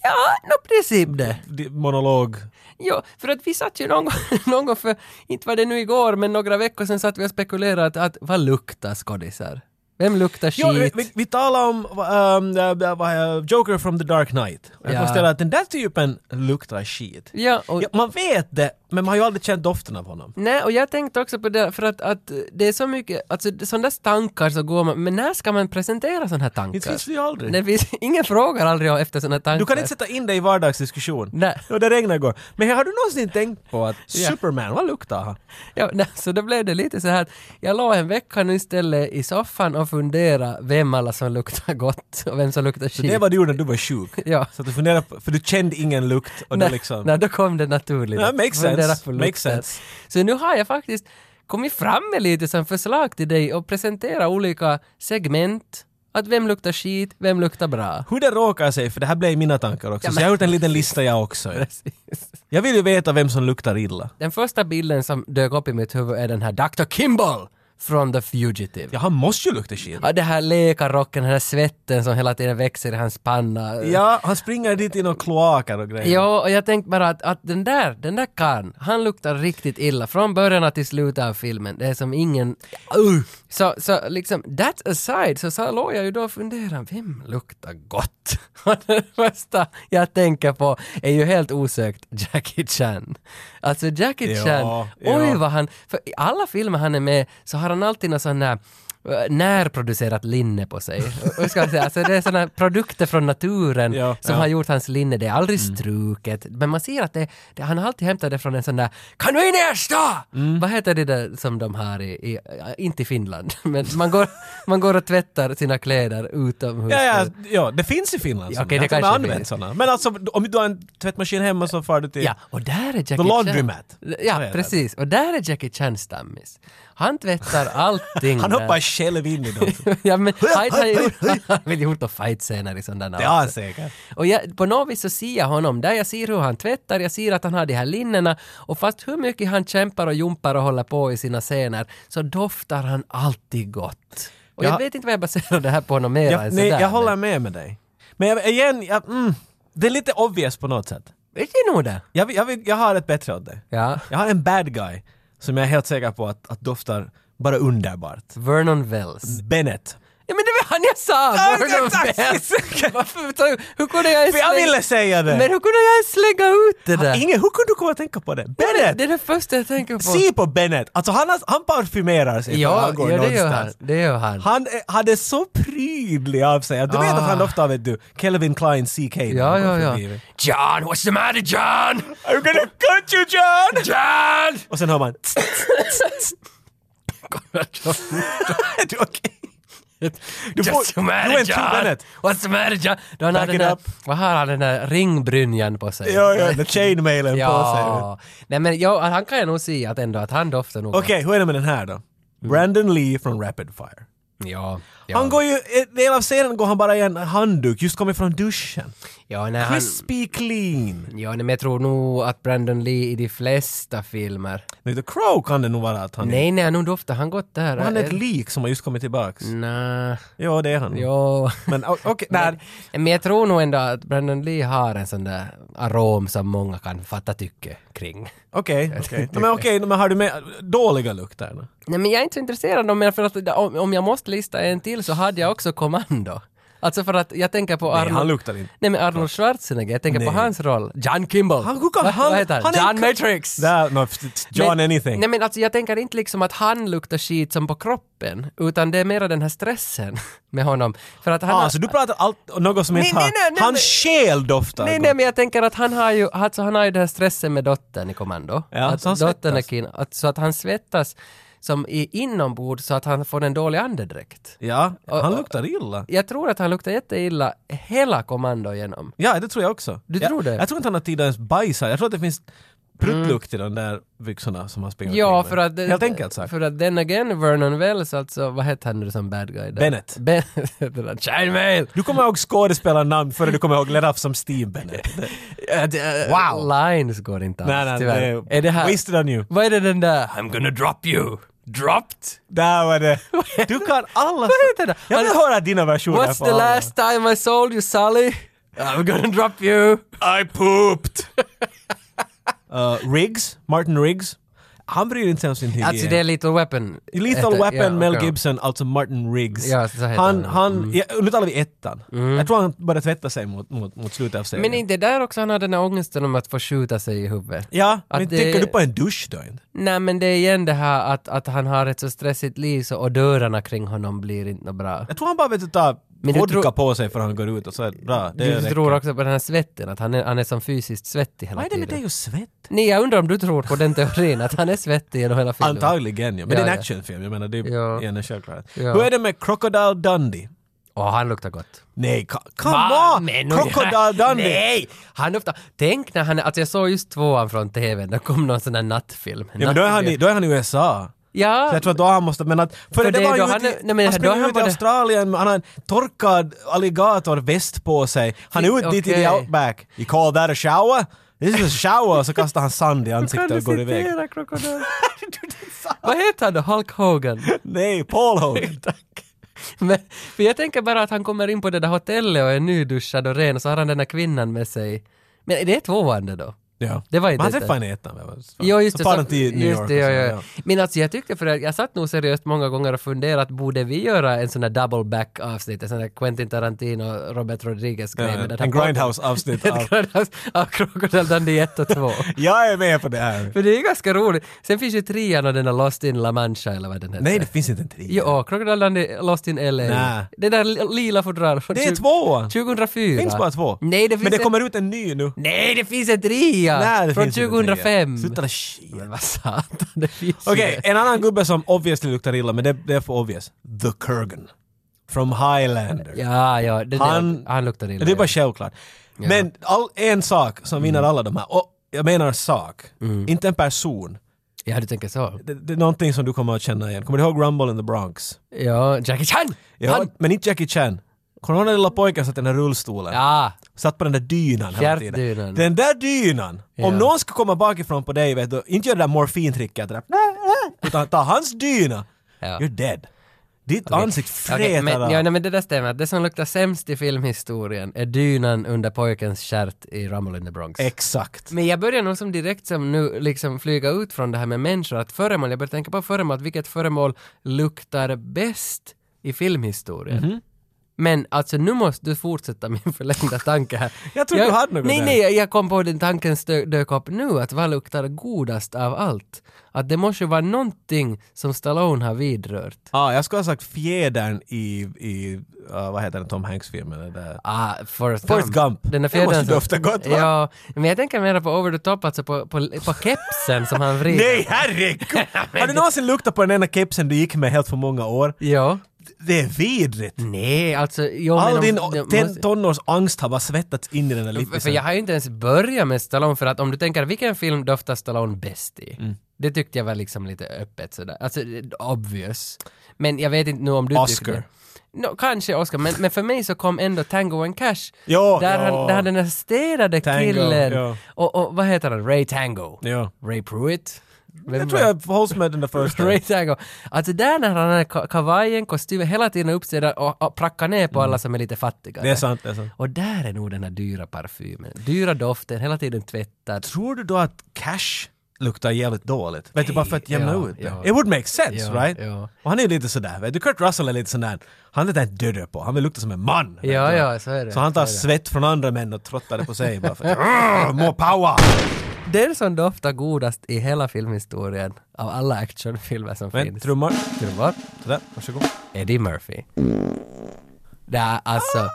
[SPEAKER 3] Ja, nå princip det.
[SPEAKER 2] di- monolog.
[SPEAKER 3] Ja, för att vi satt ju någon gång, någon gång för, inte var det nu igår, men några veckor sedan satt vi och spekulerade att, att vad luktar skådisar? Vem luktar
[SPEAKER 2] Ja, vi,
[SPEAKER 3] skit?
[SPEAKER 2] vi, vi talar om um, äh, vad är- Joker from the Dark Knight. Jag
[SPEAKER 3] Ja.
[SPEAKER 2] konstaterar att den där typen luktar skit.
[SPEAKER 3] Ja, och,
[SPEAKER 2] Ja, man vet det, men man har ju aldrig känt doften av honom.
[SPEAKER 3] Nej, och jag tänkte också på det, för att, att det är så mycket, alltså det- sådana där tankar så går man, men när ska man presentera sådana här tankar?
[SPEAKER 2] Det finns ju aldrig.
[SPEAKER 3] Det finns, ingen frågar aldrig efter sådana tankar.
[SPEAKER 2] Du kan inte sätta in dig i vardagsdiskussion.
[SPEAKER 3] Nej.
[SPEAKER 2] Och det regnade igår. Men har du någonsin tänkt på att
[SPEAKER 3] Ja.
[SPEAKER 2] Superman, vad luktar han?
[SPEAKER 3] Ja, nej, så då blev det lite så här att jag la en vecka nu istället i soffan och fundera vem alla som luktar gott och vem som luktar
[SPEAKER 2] Så
[SPEAKER 3] skit.
[SPEAKER 2] det var du gjorde när du var sjuk.
[SPEAKER 3] Ja.
[SPEAKER 2] Så att du funderade på, för du kände ingen lukt och
[SPEAKER 3] nej,
[SPEAKER 2] det liksom...
[SPEAKER 3] nej, då kom det naturligt.
[SPEAKER 2] Ja, makes sense.
[SPEAKER 3] Fundera på
[SPEAKER 2] Makes
[SPEAKER 3] lukten.
[SPEAKER 2] sense.
[SPEAKER 3] Så nu har jag faktiskt kommit fram med lite som förslag till dig och presentera olika segment. Att vem luktar skit, vem luktar bra.
[SPEAKER 2] Hur det råkar sig, för det här blev mina tankar också, så jag har gjort en liten lista jag också. Jag vill ju veta vem som luktar illa.
[SPEAKER 3] Den första bilden som dök upp i mitt huvud är den här Dr. Kimball från The Fugitive.
[SPEAKER 2] Ja, han måste ju lukta skit.
[SPEAKER 3] Ja, det här lekarrocken, den här svetten som hela tiden växer i hans panna.
[SPEAKER 2] Ja, han springer dit i några kloaker och grejer.
[SPEAKER 3] Ja, och jag tänkte bara att, att den där, den där karln, han luktar riktigt illa från början till slutet av filmen. Det är som ingen... Uh. Så, så liksom, that aside, så, så låg jag ju då och funderade, vem luktar gott? Och det första jag tänker på är ju helt osökt Jackie Chan. Alltså Jackie
[SPEAKER 2] Ja,
[SPEAKER 3] Chan, oj
[SPEAKER 2] ja.
[SPEAKER 3] vad han... För i alla filmer han är med så har han alltid någon sån där eh, närproducerat linne på sig. Och- och ska jag säga, alltså det är sådana produkter från naturen
[SPEAKER 2] Ja,
[SPEAKER 3] som
[SPEAKER 2] ja.
[SPEAKER 3] har gjort hans linne, det är aldrig
[SPEAKER 2] Mm.
[SPEAKER 3] struket. Men man ser att det, det, han har alltid hämtat det från en sån där kanuinersta!
[SPEAKER 2] Mm.
[SPEAKER 3] Vad heter det där som de har i, i ja, inte i Finland, men man går, man går och tvättar sina kläder utomhus.
[SPEAKER 2] Ja, ja, ja, det finns i Finland såna.
[SPEAKER 3] Okej, det
[SPEAKER 2] Jag tror de
[SPEAKER 3] kanske
[SPEAKER 2] använder
[SPEAKER 3] finns.
[SPEAKER 2] såna. Men alltså, om du har en tvättmaskin hemma så far du till...
[SPEAKER 3] Ja, och där är Jackie
[SPEAKER 2] laundromat.
[SPEAKER 3] Chan.
[SPEAKER 2] Så
[SPEAKER 3] Ja,
[SPEAKER 2] heter
[SPEAKER 3] precis. Och där är Jackie Chan stammis. Han tvättar allting
[SPEAKER 2] Han
[SPEAKER 3] där.
[SPEAKER 2] hoppar själv in i dem.
[SPEAKER 3] ja, men han har gjort, han har väl gjort några fight-scener i sådana
[SPEAKER 2] Det har han säkert.
[SPEAKER 3] Och jag, på något vis så ser jag honom där, jag ser hur han tvättar, jag ser att han har de här linnena och fast hur mycket han kämpar och jumpar och håller på i sina scener så doftar han alltid gott. Och jag,
[SPEAKER 2] Jag-
[SPEAKER 3] vet inte vad jag baserar det här på något mer
[SPEAKER 2] Jag,
[SPEAKER 3] än
[SPEAKER 2] nej,
[SPEAKER 3] sådär.
[SPEAKER 2] jag håller
[SPEAKER 3] men
[SPEAKER 2] med med dig. Men jag, igen, jag, mm, det är lite obvious på något sätt.
[SPEAKER 3] Det är nog det.
[SPEAKER 2] Jag, vill- jag, vill- jag har ett bättre åt dig.
[SPEAKER 3] Ja.
[SPEAKER 2] Jag har en bad guy som jag är helt säker på att, att doftar bara underbart.
[SPEAKER 3] Vernon Wells.
[SPEAKER 2] Bennett.
[SPEAKER 3] Ja men det var han jag sa!
[SPEAKER 2] Mm. Ja,
[SPEAKER 3] Vernon
[SPEAKER 2] exakt!
[SPEAKER 3] Wells! Varför, tar du- hur kunde jag ens
[SPEAKER 2] För jag
[SPEAKER 3] slänga-
[SPEAKER 2] ville säga det!
[SPEAKER 3] Men hur kunde jag ens slänga ut det där?
[SPEAKER 2] Ingen, hur kunde du komma att tänka på det? Bennett!
[SPEAKER 3] Det är det första jag tänker på.
[SPEAKER 2] Se på Bennett! Alltså han, har- han parfymerar sig när
[SPEAKER 3] ja,
[SPEAKER 2] han går
[SPEAKER 3] ja, det gör han.
[SPEAKER 2] någonstans.
[SPEAKER 3] Det gör han.
[SPEAKER 2] Han är- hade så prydlig av sig. Du vet
[SPEAKER 3] Ah.
[SPEAKER 2] att han ofta vet du, Kelvin Klein CK. när
[SPEAKER 3] Ja,
[SPEAKER 2] han går
[SPEAKER 3] ja, ja.
[SPEAKER 2] förbi.
[SPEAKER 3] John, what's the matter John?
[SPEAKER 2] I'm gonna cut you John!
[SPEAKER 3] John!
[SPEAKER 2] Och sen hör man... Är du okej?
[SPEAKER 3] Du
[SPEAKER 2] får-
[SPEAKER 3] Just the matter,
[SPEAKER 2] du är en
[SPEAKER 3] John?
[SPEAKER 2] tubbenet.
[SPEAKER 3] What's the matter John? Då han har
[SPEAKER 2] Back
[SPEAKER 3] den
[SPEAKER 2] it
[SPEAKER 3] där,
[SPEAKER 2] up.
[SPEAKER 3] vad har han den där ringbrynjan på sig?
[SPEAKER 2] Ja, ja, med chainmailen på sig.
[SPEAKER 3] ja. Nej men ja, han kan jag nog se att ändå att han doftar nog.
[SPEAKER 2] Okej, hur är det med den här
[SPEAKER 3] Mm.
[SPEAKER 2] då? Brandon Lee från Rapid Fire.
[SPEAKER 3] Ja, ja.
[SPEAKER 2] Han går ju, en del av scenen går han bara i en handduk, just kommit från duschen.
[SPEAKER 3] ja, nej, han,
[SPEAKER 2] Crispy clean.
[SPEAKER 3] ja, nej, men jag tror nog att Brandon Lee i de flesta filmer.
[SPEAKER 2] Nej, The Crow kan det nog vara att han är.
[SPEAKER 3] Nej, nej, nu doftar han gott där.
[SPEAKER 2] Han är ett lik som har just kommit tillbaks.
[SPEAKER 3] Eh, Mm. Nej,
[SPEAKER 2] Ja, det är han.
[SPEAKER 3] jo.
[SPEAKER 2] Men o- okej,
[SPEAKER 3] Men,
[SPEAKER 2] nej.
[SPEAKER 3] men jag tror nog ändå att Brandon Lee har en sån där arom som många kan fatta tycke kring.
[SPEAKER 2] Okej, okej. Nej, Men okej, men har du med dåliga lukter? då?
[SPEAKER 3] Nej men jag är inte så intresserad om mer för att om, om jag måste lista en till så hade jag också kommando. Alltså för att jag tänker på
[SPEAKER 2] Nej, han
[SPEAKER 3] Arnold...
[SPEAKER 2] luktar inte.
[SPEAKER 3] Nej men Arnold Schwarzenegger, jag tänker på
[SPEAKER 2] Nej.
[SPEAKER 3] hans roll. John Kimball.
[SPEAKER 2] Han- hur kan
[SPEAKER 3] Va-
[SPEAKER 2] han-
[SPEAKER 3] Vad heter han?
[SPEAKER 2] han är
[SPEAKER 3] John
[SPEAKER 2] en-
[SPEAKER 3] Matrix!
[SPEAKER 2] Där, no, f- it's John
[SPEAKER 3] men,
[SPEAKER 2] anything.
[SPEAKER 3] Nej men alltså jag tänker inte liksom att han luktar skit som på kroppen, utan det är mera den här stressen med honom. För att han
[SPEAKER 2] ah,
[SPEAKER 3] har-
[SPEAKER 2] så du pratar allt, något som
[SPEAKER 3] Nej,
[SPEAKER 2] inte
[SPEAKER 3] nej,
[SPEAKER 2] har...
[SPEAKER 3] nej, nej,
[SPEAKER 2] Hans
[SPEAKER 3] nej.
[SPEAKER 2] själ doftar
[SPEAKER 3] Nej,
[SPEAKER 2] gott.
[SPEAKER 3] nej, men jag tänker att han har ju, alltså han har ju den här stressen med dottern i kommando.
[SPEAKER 2] Ja,
[SPEAKER 3] att
[SPEAKER 2] så han
[SPEAKER 3] dottern är
[SPEAKER 2] svettas.
[SPEAKER 3] kin, att, så att han svettas som i inombords så att han får en dålig andedräkt.
[SPEAKER 2] Ja, han
[SPEAKER 3] och-
[SPEAKER 2] luktar illa.
[SPEAKER 3] Jag tror att han luktar jätteilla hela kommando igenom.
[SPEAKER 2] Ja, det tror jag också.
[SPEAKER 3] Du
[SPEAKER 2] jag,
[SPEAKER 3] tror det?
[SPEAKER 2] Jag tror inte han har tid att ens bajsa. Jag tror att det finns pruttlukt i de där byxorna som han springer
[SPEAKER 3] Mm. Ja,
[SPEAKER 2] omkring med.
[SPEAKER 3] för att...
[SPEAKER 2] Helt enkelt sagt.
[SPEAKER 3] För att den again, Vernon Wells, alltså, vad hette han nu som bad guy? där?
[SPEAKER 2] Bennett.
[SPEAKER 3] Ben, heter han. Childmail!
[SPEAKER 2] Du kommer ihåg skådespelarnamn före du kommer ihåg Leraf som Steve Bennett.
[SPEAKER 3] Wow! Lines går inte alls,
[SPEAKER 2] nej, nej,
[SPEAKER 3] tyvärr.
[SPEAKER 2] det
[SPEAKER 3] är det här...
[SPEAKER 2] Wasted on you.
[SPEAKER 3] Vad är det den där? I'm gonna drop you! Dropped?
[SPEAKER 2] Där var det. Du kan alla... Vad
[SPEAKER 3] heter det?
[SPEAKER 2] Jag vill
[SPEAKER 3] Han-
[SPEAKER 2] höra dina versioner
[SPEAKER 3] What's
[SPEAKER 2] på
[SPEAKER 3] the
[SPEAKER 2] alla.
[SPEAKER 3] last time I sold you, Sally? I'm gonna drop you.
[SPEAKER 2] I pooped! uh, Riggs, Martin Riggs. Han bryr inte sig om sin hygien.
[SPEAKER 3] Alltså det är Little Weapon.
[SPEAKER 2] Lethal
[SPEAKER 3] Heter-
[SPEAKER 2] Weapon,
[SPEAKER 3] ja,
[SPEAKER 2] Mel
[SPEAKER 3] okej.
[SPEAKER 2] Gibson, alltså Martin Riggs.
[SPEAKER 3] Ja, så heter Mm.
[SPEAKER 2] han,
[SPEAKER 3] han.
[SPEAKER 2] han, ja, nu talar vi ettan. Jag tror han började tvätta sig mot, mot, mot slutet av serien.
[SPEAKER 3] Men inte där också han hade den här ångesten om att få skjuta sig i huvudet.
[SPEAKER 2] ja,
[SPEAKER 3] Att
[SPEAKER 2] men
[SPEAKER 3] det-
[SPEAKER 2] tänker du på en dusch då inte?
[SPEAKER 3] Nej men det är igen det här att, att han har ett så stressigt liv så, och dörrarna kring honom blir inte nå bra.
[SPEAKER 2] Jag tror han bara vet att ta
[SPEAKER 3] Men du
[SPEAKER 2] vodka
[SPEAKER 3] tror-
[SPEAKER 2] på sig för han går ut och så är det bra. Det
[SPEAKER 3] Du
[SPEAKER 2] räcker.
[SPEAKER 3] tror också på den här svetten, att han är, han är som fysiskt svettig hela
[SPEAKER 2] Vad är det
[SPEAKER 3] tiden.
[SPEAKER 2] med dig och svett?
[SPEAKER 3] Nej jag undrar om du tror på den teorin att han är svettig genom hela filmen.
[SPEAKER 2] Antagligen ja, men det
[SPEAKER 3] Ja,
[SPEAKER 2] är en
[SPEAKER 3] ja.
[SPEAKER 2] actionfilm, jag menar det är
[SPEAKER 3] Ja.
[SPEAKER 2] ja. en självklarhet.
[SPEAKER 3] Ja.
[SPEAKER 2] Hur är det med Crocodile Dundee?
[SPEAKER 3] Åh, han luktar gott.
[SPEAKER 2] Nej, co- come
[SPEAKER 3] Va?
[SPEAKER 2] on!
[SPEAKER 3] Men,
[SPEAKER 2] Crocodile Dundee!
[SPEAKER 3] Nej! Han ofta, tänk när han, alltså jag såg just tvåan från tvn, då kom någon sån där nattfilm.
[SPEAKER 2] Ja, men då är, han i, då är han i USA.
[SPEAKER 3] Ja,
[SPEAKER 2] Så jag tror att då han måste, men att... För, det,
[SPEAKER 3] det är
[SPEAKER 2] var
[SPEAKER 3] då
[SPEAKER 2] ju
[SPEAKER 3] han
[SPEAKER 2] ute
[SPEAKER 3] är-
[SPEAKER 2] i-
[SPEAKER 3] nej, men då
[SPEAKER 2] han springer
[SPEAKER 3] han
[SPEAKER 2] ut i
[SPEAKER 3] var det-
[SPEAKER 2] Australien, han har en torkad alligatorväst på sig. Han är ute dit i the
[SPEAKER 3] Okej.
[SPEAKER 2] outback. You call that a shower? This is a shower! Och så kastar han sand i ansiktet och går iväg.
[SPEAKER 3] krokodil. Vad heter han då? Hulk Hogan?
[SPEAKER 2] Nej, Paul Hogan.
[SPEAKER 3] Tack. Men, för jag tänker bara att han kommer in på det där hotellet och är nyduschad och ren och så har han den där kvinnan med sig. Men det är tvåan det då?
[SPEAKER 2] Ja.
[SPEAKER 3] Det var inte
[SPEAKER 2] Man
[SPEAKER 3] det.
[SPEAKER 2] träffade henne i ettan. väl?
[SPEAKER 3] Jo, just
[SPEAKER 2] så
[SPEAKER 3] det.
[SPEAKER 2] far de till New
[SPEAKER 3] just
[SPEAKER 2] York.
[SPEAKER 3] det,
[SPEAKER 2] och
[SPEAKER 3] ja,
[SPEAKER 2] så,
[SPEAKER 3] ja. Men alltså jag tyckte för att jag satt nog seriöst många gånger och funderat, borde vi göra en sån där double back avsnitt, en sån där Quentin Tarantino, Robert Rodriguez
[SPEAKER 2] Ja,
[SPEAKER 3] grej med den här
[SPEAKER 2] en
[SPEAKER 3] podden.
[SPEAKER 2] Grindhouse-avsnitt av,
[SPEAKER 3] Ett Grindhouse av Crocodile Dundee 1 och 2.
[SPEAKER 2] jag är med på det här.
[SPEAKER 3] För det är ganska roligt. Sen finns ju trean och den där Lost in La Mancha eller vad den heter.
[SPEAKER 2] Nej, det finns inte en trea.
[SPEAKER 3] Jo, Crocodile Dundee, Lost in LA.
[SPEAKER 2] Nä.
[SPEAKER 3] Det där li- lila fodralet från
[SPEAKER 2] Det är
[SPEAKER 3] tju-
[SPEAKER 2] tvåan.
[SPEAKER 3] 2004.
[SPEAKER 2] Det finns bara två.
[SPEAKER 3] Nej, det finns
[SPEAKER 2] Men det
[SPEAKER 3] en-
[SPEAKER 2] kommer ut en ny nu.
[SPEAKER 3] Nej, det finns en trea!
[SPEAKER 2] Nej, det
[SPEAKER 3] från
[SPEAKER 2] finns inte en trea.
[SPEAKER 3] 2005.
[SPEAKER 2] Sluta det shit.
[SPEAKER 3] Men vad satan, det finns ju
[SPEAKER 2] Okej,
[SPEAKER 3] det.
[SPEAKER 2] en annan gubbe som obviously luktar illa, men det, det är för obvious. The Kurgan. From Highlander.
[SPEAKER 3] Ja, ja. Det, han,
[SPEAKER 2] Han-
[SPEAKER 3] han luktar illa.
[SPEAKER 2] Det är
[SPEAKER 3] ja.
[SPEAKER 2] bara självklart. Men all, en sak som vinner alla de här, och jag menar sak, inte en person.
[SPEAKER 3] ja, du tänker så.
[SPEAKER 2] Det, det är någonting som du kommer att känna igen. Kommer du ihåg Rumble in the Bronx?
[SPEAKER 3] Ja, Jackie Chan!
[SPEAKER 2] Ja,
[SPEAKER 3] Han,
[SPEAKER 2] men inte Jackie Chan. Kommer du ihåg den lilla pojken satt i den här rullstolen?
[SPEAKER 3] ja,
[SPEAKER 2] Satt på den där dynan hela
[SPEAKER 3] Fjärrdynan.
[SPEAKER 2] tiden. Den där dynan!
[SPEAKER 3] Ja.
[SPEAKER 2] Om någon skulle komma bakifrån på dig, vet du, inte göra det där morfintricket, det där, utan ta hans dyna,
[SPEAKER 3] Ja.
[SPEAKER 2] you're dead. Ditt ansikte frätar
[SPEAKER 3] Okej, men,
[SPEAKER 2] av.
[SPEAKER 3] ja, nej, men det där stämmer. Det som luktar sämst i filmhistorien är dynan under pojkens stjärt i Rumble in the Bronx.
[SPEAKER 2] Exakt.
[SPEAKER 3] Men jag börjar nog som direkt som nu liksom flyga ut från det här med människor, att föremål, jag börjar tänka på föremål, att vilket föremål luktar bäst i filmhistorien?
[SPEAKER 2] Mhm.
[SPEAKER 3] Men alltså nu måste du fortsätta min förlängda tanke här.
[SPEAKER 2] Jag trodde du hade något
[SPEAKER 3] Nej,
[SPEAKER 2] där.
[SPEAKER 3] nej, jag- jag kom på den tanken stö- dök upp nu, att vad luktar godast av allt? Att det måste ju vara någonting som Stallone har vidrört.
[SPEAKER 2] Ah, jag skulle ha sagt fjädern i, i ah, vad heter den, Tom Hanks-filmen? den där.
[SPEAKER 3] Ah, Forrest,
[SPEAKER 2] Forrest Gump.
[SPEAKER 3] Den där
[SPEAKER 2] Det måste
[SPEAKER 3] fjädern som-
[SPEAKER 2] dofta gott, va?
[SPEAKER 3] Ja, men jag tänker mer på over the top, alltså på, på, på kepsen som han vrider.
[SPEAKER 2] Nej, herregud! Har du någonsin luktat på den ena kepsen du gick med helt för många år?
[SPEAKER 3] Ja.
[SPEAKER 2] Det är vidrigt!
[SPEAKER 3] Nej, alltså... Jo, men
[SPEAKER 2] All
[SPEAKER 3] om-
[SPEAKER 2] din
[SPEAKER 3] det
[SPEAKER 2] ten,
[SPEAKER 3] måste-
[SPEAKER 2] tonårsangst har bara svettats in i den där
[SPEAKER 3] För
[SPEAKER 2] lippisen.
[SPEAKER 3] jag har ju inte ens börjat med Stallone, för att om du tänker vilken film doftar Stallone bäst i?
[SPEAKER 2] Mm.
[SPEAKER 3] Det tyckte jag var liksom lite öppet sådär, alltså obvious. Men jag vet inte nu om du
[SPEAKER 2] Oscar.
[SPEAKER 3] tyckte... No, kanske Oscar, men, men för mig så kom ändå Tango and Cash.
[SPEAKER 2] Ja,
[SPEAKER 3] där,
[SPEAKER 2] ja.
[SPEAKER 3] Han, där han den här städade
[SPEAKER 2] Tango,
[SPEAKER 3] killen.
[SPEAKER 2] ja.
[SPEAKER 3] Och, och vad heter han? Ray Tango?
[SPEAKER 2] Ja.
[SPEAKER 3] Ray Pruitt? Vem
[SPEAKER 2] Jag
[SPEAKER 3] var-
[SPEAKER 2] tror jag hålls med den där första.
[SPEAKER 3] Ray Tango. Alltså där när han har ka- kavajen, kostymen, hela tiden uppstädad och, och prackar ner på alla som är lite fattiga.
[SPEAKER 2] Mm. Det är sant, det är sant.
[SPEAKER 3] Och där är nog den här dyra parfymen. Dyra doften, hela tiden tvättad.
[SPEAKER 2] Tror du då att cash luktar jävligt dåligt? Vet du, bara för att jämna
[SPEAKER 3] ja,
[SPEAKER 2] ut det.
[SPEAKER 3] ja.
[SPEAKER 2] It would make sense,
[SPEAKER 3] Ja,
[SPEAKER 2] right?
[SPEAKER 3] ja.
[SPEAKER 2] Och han är ju lite sådär, vet du, Kurt Russell är lite sådär, han är lite en dödö på, han vill lukta som en man. vet
[SPEAKER 3] Ja,
[SPEAKER 2] du.
[SPEAKER 3] ja, så är det.
[SPEAKER 2] Så han tar
[SPEAKER 3] Så är det.
[SPEAKER 2] svett från andra män och trottar det på sig bara för att "Arr, more power!
[SPEAKER 3] Den som doftar godast i hela filmhistorien av alla actionfilmer som
[SPEAKER 2] Men
[SPEAKER 3] finns.
[SPEAKER 2] trummor,
[SPEAKER 3] Trummor.
[SPEAKER 2] sådär, varsågod.
[SPEAKER 3] Eddie Murphy. Nej, alltså.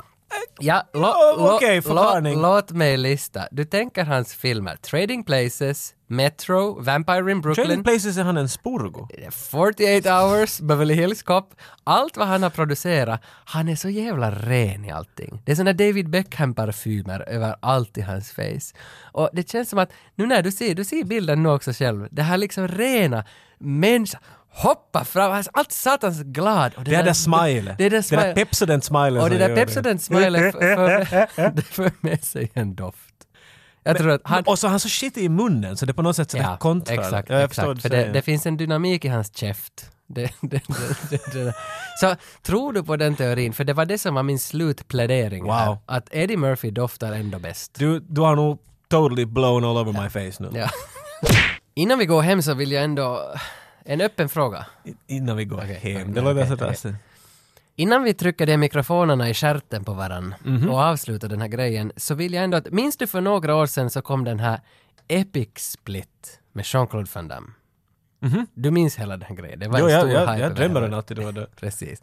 [SPEAKER 3] Ja,
[SPEAKER 2] ja,
[SPEAKER 3] lo, lo,
[SPEAKER 2] Ah, oh, okej, förklaring.
[SPEAKER 3] lo, låt mig lista. Du tänker hans filmer Trading Places, Metro, Vampire in Brooklyn,
[SPEAKER 2] Trading Places är han en spurgo.
[SPEAKER 3] 48 hours, Beverly Hills Cop, allt vad han har producerat, han är så jävla ren i allting. Det är såna David Beckham-parfymer överallt i hans face. Och det känns som att, nu när du ser, du ser bilden nu också själv, det här liksom rena, människa hoppar fram, alltså allt satans glad. Och
[SPEAKER 2] Det är det smilet.
[SPEAKER 3] Det är det
[SPEAKER 2] Det är
[SPEAKER 3] smilet.
[SPEAKER 2] Pepsodent-smilet.
[SPEAKER 3] Och det
[SPEAKER 2] som
[SPEAKER 3] där
[SPEAKER 2] gör
[SPEAKER 3] Pepsodent-smilet för, för, det för med sig en doft. Jag tror att han...
[SPEAKER 2] Och så har han så shit i munnen så det är på något sätt sådär kontrar.
[SPEAKER 3] Exakt,
[SPEAKER 2] Ja, jag förstår
[SPEAKER 3] exakt. För
[SPEAKER 2] vad du
[SPEAKER 3] det, det
[SPEAKER 2] säger.
[SPEAKER 3] finns en dynamik i hans käft. Det, det, det, det, det. Så tror du på den teorin? För det var det som var min slutplädering här.
[SPEAKER 2] Wow.
[SPEAKER 3] Att Eddie Murphy doftar ändå bäst.
[SPEAKER 2] Du, du har nog totally blown all over my face nu.
[SPEAKER 3] Ja. Innan vi går hem så vill jag ändå... En öppen fråga.
[SPEAKER 2] I- Innan vi går
[SPEAKER 3] Okej,
[SPEAKER 2] hem.
[SPEAKER 3] okej,
[SPEAKER 2] Det låter
[SPEAKER 3] okej,
[SPEAKER 2] så
[SPEAKER 3] okej.
[SPEAKER 2] trassligt.
[SPEAKER 3] Innan vi trycker de mikrofonerna i stjärten på varann
[SPEAKER 2] Mhm.
[SPEAKER 3] och avslutar den här grejen så vill jag ändå att... Minns du för några år sedan så kom den här Epic Split med Jean-Claude Van Damme? Du minns hela den här grejen? Det var
[SPEAKER 2] Mhm. Jo,
[SPEAKER 3] en
[SPEAKER 2] jag,
[SPEAKER 3] stor
[SPEAKER 2] jag,
[SPEAKER 3] hype
[SPEAKER 2] jag
[SPEAKER 3] över
[SPEAKER 2] drömmer
[SPEAKER 3] hela-
[SPEAKER 2] den alltid då och då.
[SPEAKER 3] Precis.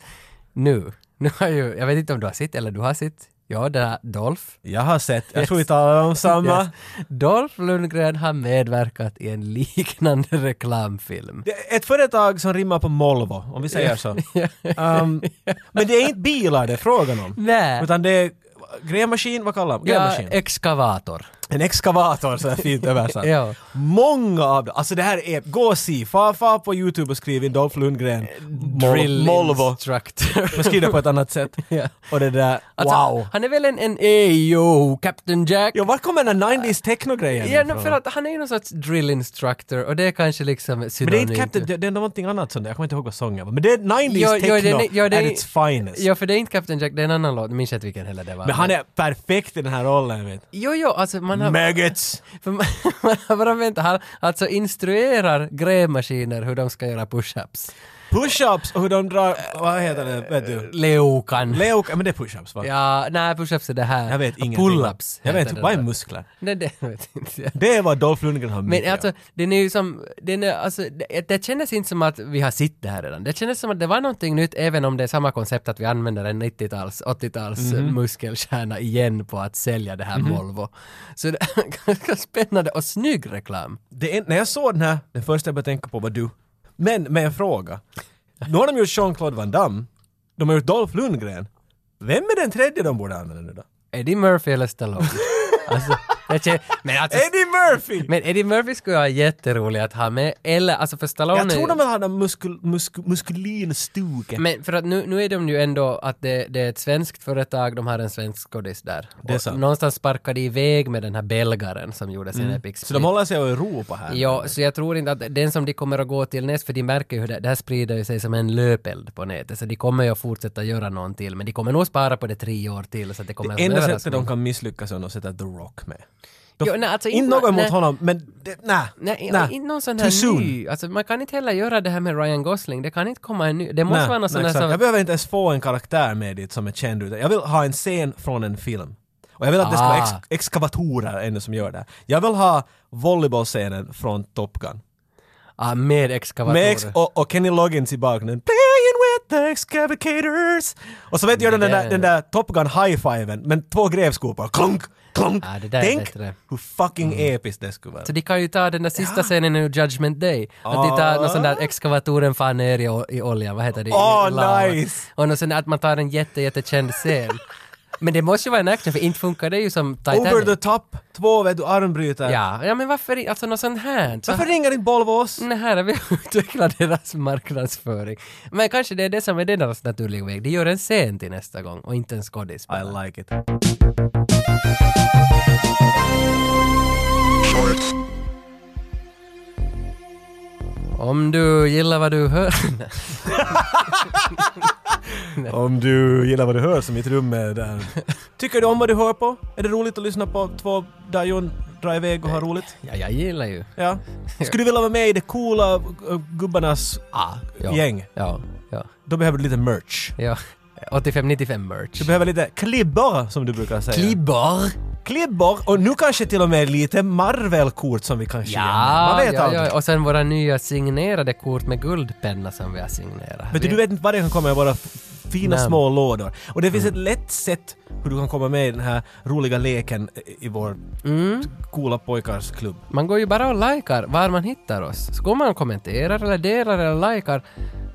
[SPEAKER 3] Nu, nu har ju, jag vet inte om du har sett eller du har sett, ja det här Dolph.
[SPEAKER 2] Jag har sett, jag tror vi talar om samma.
[SPEAKER 3] Yes. Dolph Lundgren har medverkat i en liknande reklamfilm.
[SPEAKER 2] Det är Ett företag som rimmar på Volvo, om vi säger så. Um, men det är inte bilar det är frågan om.
[SPEAKER 3] Nej.
[SPEAKER 2] Utan det är grävmaskin, vad kallar man
[SPEAKER 3] Ja,
[SPEAKER 2] grävmaskin?
[SPEAKER 3] Excavator.
[SPEAKER 2] En exkavator, så här fint översatt.
[SPEAKER 3] Ja.
[SPEAKER 2] Många av dem, alltså det här är, gå och se, far, far på YouTube och skriv in Dolph Lundgren, Mol-
[SPEAKER 3] Drill
[SPEAKER 2] Molvo,
[SPEAKER 3] instructor.
[SPEAKER 2] men skriv det på ett annat sätt.
[SPEAKER 3] Ja.
[SPEAKER 2] Och det där,
[SPEAKER 3] Alltså,
[SPEAKER 2] wow.
[SPEAKER 3] Han är väl en, en Ayo, Captain Jack?
[SPEAKER 2] Ja, var kommer den här 90s techno-grejen
[SPEAKER 3] Ja, no,
[SPEAKER 2] ifrån?
[SPEAKER 3] för att han är ju någon sorts drill instructor och det är kanske liksom
[SPEAKER 2] Men det är
[SPEAKER 3] synonymt.
[SPEAKER 2] inte Captain, det det är någonting annat sånt där, jag kommer inte ihåg vad sången var. Men det är 90s
[SPEAKER 3] Ja,
[SPEAKER 2] techno
[SPEAKER 3] ja, det- ja, det-
[SPEAKER 2] at its finest.
[SPEAKER 3] Ja, för det är inte Captain Jack, det är en annan låt. Nu minns jag inte vilken heller det var.
[SPEAKER 2] men han är perfekt i den här rollen, vet du.
[SPEAKER 3] Jo, jo, alltså man har...
[SPEAKER 2] Maggots!
[SPEAKER 3] För man, man har bara väntat. Han alltså instruerar grävmaskiner hur de ska göra push-ups.
[SPEAKER 2] Push-ups och hur de drar, vad heter det, vet du?
[SPEAKER 3] Leukan.
[SPEAKER 2] Leo, men det är push-ups va?
[SPEAKER 3] ja, nej, push-ups är det här.
[SPEAKER 2] Jag vet ingenting.
[SPEAKER 3] Pull-ups.
[SPEAKER 2] Jag vet
[SPEAKER 3] heter
[SPEAKER 2] inte,
[SPEAKER 3] det
[SPEAKER 2] vad är
[SPEAKER 3] där.
[SPEAKER 2] muskler?
[SPEAKER 3] Nej, det vet inte jag.
[SPEAKER 2] Det är vad Dolph Lundgren har mycket
[SPEAKER 3] Men
[SPEAKER 2] av.
[SPEAKER 3] alltså, den är ju som, den är, alltså, det, det kändes inte som att vi har sett det här redan. Det kändes som att det var någonting nytt, även om det är samma koncept att vi använder en 90-tals, 80-tals
[SPEAKER 2] Mhm.
[SPEAKER 3] muskelkärna igen på att sälja det här Volvo. Så det är ganska spännande och snygg reklam.
[SPEAKER 2] det är, när jag såg den här, den första jag började tänka på var du. Men med en fråga. Nu har de gjort Jean-Claude Van Damme, de har gjort Dolph Lundgren. Vem är den tredje de borde använda nu då?
[SPEAKER 3] Eddie Murphy eller Stallone? alltså, det kän, men alltså,
[SPEAKER 2] Eddie Murphy!
[SPEAKER 3] men Eddie Murphy skulle vara jätterolig att ha med, eller alltså för Stallone...
[SPEAKER 2] jag tror de vill ha den muskul, muskul, muskulinstuket.
[SPEAKER 3] Men för att nu, nu är de ju ändå att det, det är ett svenskt företag, de har en svensk skådis där.
[SPEAKER 2] Det är
[SPEAKER 3] Och
[SPEAKER 2] sant. Mm.
[SPEAKER 3] Någonstans sparkade de iväg med den här belgaren som gjorde sin Epic
[SPEAKER 2] Så de
[SPEAKER 3] Split.
[SPEAKER 2] håller sig i Europa här.
[SPEAKER 3] Ja, så jag tror inte att den som de kommer att gå till näst, för de märker ju hur det, det här sprider ju sig som en löpeld på nätet, så de kommer ju att fortsätta göra någon till, men de kommer nog spara på det tre år till, så att det kommer
[SPEAKER 2] det enda
[SPEAKER 3] att
[SPEAKER 2] sättet de kan misslyckas är om de sätter The Rock med. De,
[SPEAKER 3] Jo, nej, alltså
[SPEAKER 2] inte
[SPEAKER 3] inte-
[SPEAKER 2] något emot
[SPEAKER 3] nej.
[SPEAKER 2] honom, men det, nej.
[SPEAKER 3] Nej, inte någon sån
[SPEAKER 2] Too
[SPEAKER 3] här
[SPEAKER 2] soon.
[SPEAKER 3] ny. Alltså, man kan inte heller göra det här med Ryan Gosling. Det kan inte komma en ny. Det måste
[SPEAKER 2] Nej,
[SPEAKER 3] vara någon
[SPEAKER 2] nej,
[SPEAKER 3] sån här
[SPEAKER 2] exakt. Jag
[SPEAKER 3] som...
[SPEAKER 2] behöver inte ens få en karaktär med dit som är känd utan jag vill ha en scen från en film. Och jag vill att det ska vara
[SPEAKER 3] Ah.
[SPEAKER 2] ex- exkavatorer ännu som gör det. Jag vill ha volleybollscenen från Top Gun.
[SPEAKER 3] Ah, med exkavatorer.
[SPEAKER 2] Med ex- och, och Kenny Loggins i bakgrunden. Playing with the excavators. Och så vet jag den
[SPEAKER 3] Mm, Det
[SPEAKER 2] där,
[SPEAKER 3] där-
[SPEAKER 2] den där Top Gun high-fiven men två grävskopor. Klunk, klunk.
[SPEAKER 3] Ah, det där är
[SPEAKER 2] Tänk
[SPEAKER 3] bättre. Mm.
[SPEAKER 2] hur fucking episkt det skulle vara.
[SPEAKER 3] Så de kan ju ta den där sista scenen ur Judgment Day. Att de tar någon sån där exkavatoren fan ner i, o- i olja, vad heter det? I-
[SPEAKER 2] Ah. Åh,
[SPEAKER 3] i lava.
[SPEAKER 2] nice!
[SPEAKER 3] Och någon sån där att man tar en jätte, jättekänd scen. Men det måste ju vara en action, för inte funkar det ju som Titanic.
[SPEAKER 2] Over the top, två vet du armbrytare.
[SPEAKER 3] Ja, ja men varför i- alltså något sånt här? Så
[SPEAKER 2] Varför ringer inte Volvo oss?
[SPEAKER 3] Nej, här har vi utvecklat deras marknadsföring. Men kanske det är det som är deras naturliga väg. De gör en scen till nästa gång och inte en skådis. bara.
[SPEAKER 2] I like it.
[SPEAKER 3] Mm. Om du gillar vad du hör...
[SPEAKER 2] Om du gillar vad du hör så mitt rum är där. Tycker du om vad du hör på? Är det roligt att lyssna på två Dajon dra iväg och ha roligt?
[SPEAKER 3] ja, jag gillar ju.
[SPEAKER 2] Ja. Skulle du vilja vara med i det coola äh, gubbarnas
[SPEAKER 3] Ah, Ja.
[SPEAKER 2] gäng?
[SPEAKER 3] Ja, ja,
[SPEAKER 2] Då behöver du lite merch.
[SPEAKER 3] ja. 85-95 merch.
[SPEAKER 2] Du behöver lite klibbor som du brukar säga.
[SPEAKER 3] Klibbor!
[SPEAKER 2] klibbor och nu kanske till och med lite Marvel-kort som vi kanske ger. Man
[SPEAKER 3] Ja,
[SPEAKER 2] vet
[SPEAKER 3] ja,
[SPEAKER 2] aldrig.
[SPEAKER 3] ja, och sen våra nya signerade kort med guldpenna som vi har signerat.
[SPEAKER 2] Vet du, du vet inte vad det kan komma i våra f- fina
[SPEAKER 3] Nej. Mm.
[SPEAKER 2] små lådor. Och det finns ett lätt sätt hur du kan komma med i den här roliga leken i- i vår
[SPEAKER 3] Mm.
[SPEAKER 2] coola pojkars klubb.
[SPEAKER 3] Man går ju bara och likar var man hittar oss. Så går man och kommenterar eller delar eller likar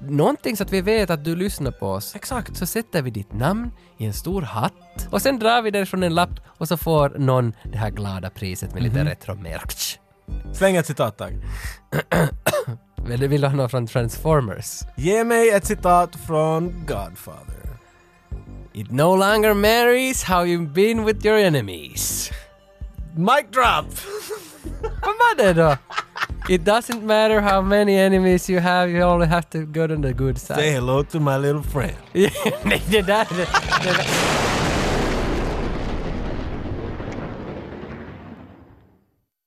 [SPEAKER 3] någonting så att vi vet att du lyssnar på oss.
[SPEAKER 2] Exakt.
[SPEAKER 3] Så sätter vi ditt namn i en stor hatt och sen drar vi den från en lapp och så får någon det här glada priset med
[SPEAKER 2] Mhm.
[SPEAKER 3] lite retromerch.
[SPEAKER 2] Släng ett citat tack.
[SPEAKER 3] Vill du vill du ha något från Transformers?
[SPEAKER 2] Ge mig ett citat från Godfather.
[SPEAKER 3] It no longer marries how you've been with your enemies.
[SPEAKER 2] Mic drop!
[SPEAKER 3] Vad var det då? It doesn't matter how many enemies you have, you only have to go to the good
[SPEAKER 2] Say
[SPEAKER 3] side.
[SPEAKER 2] hello to my little friend.
[SPEAKER 3] Nej, det där... Det, det,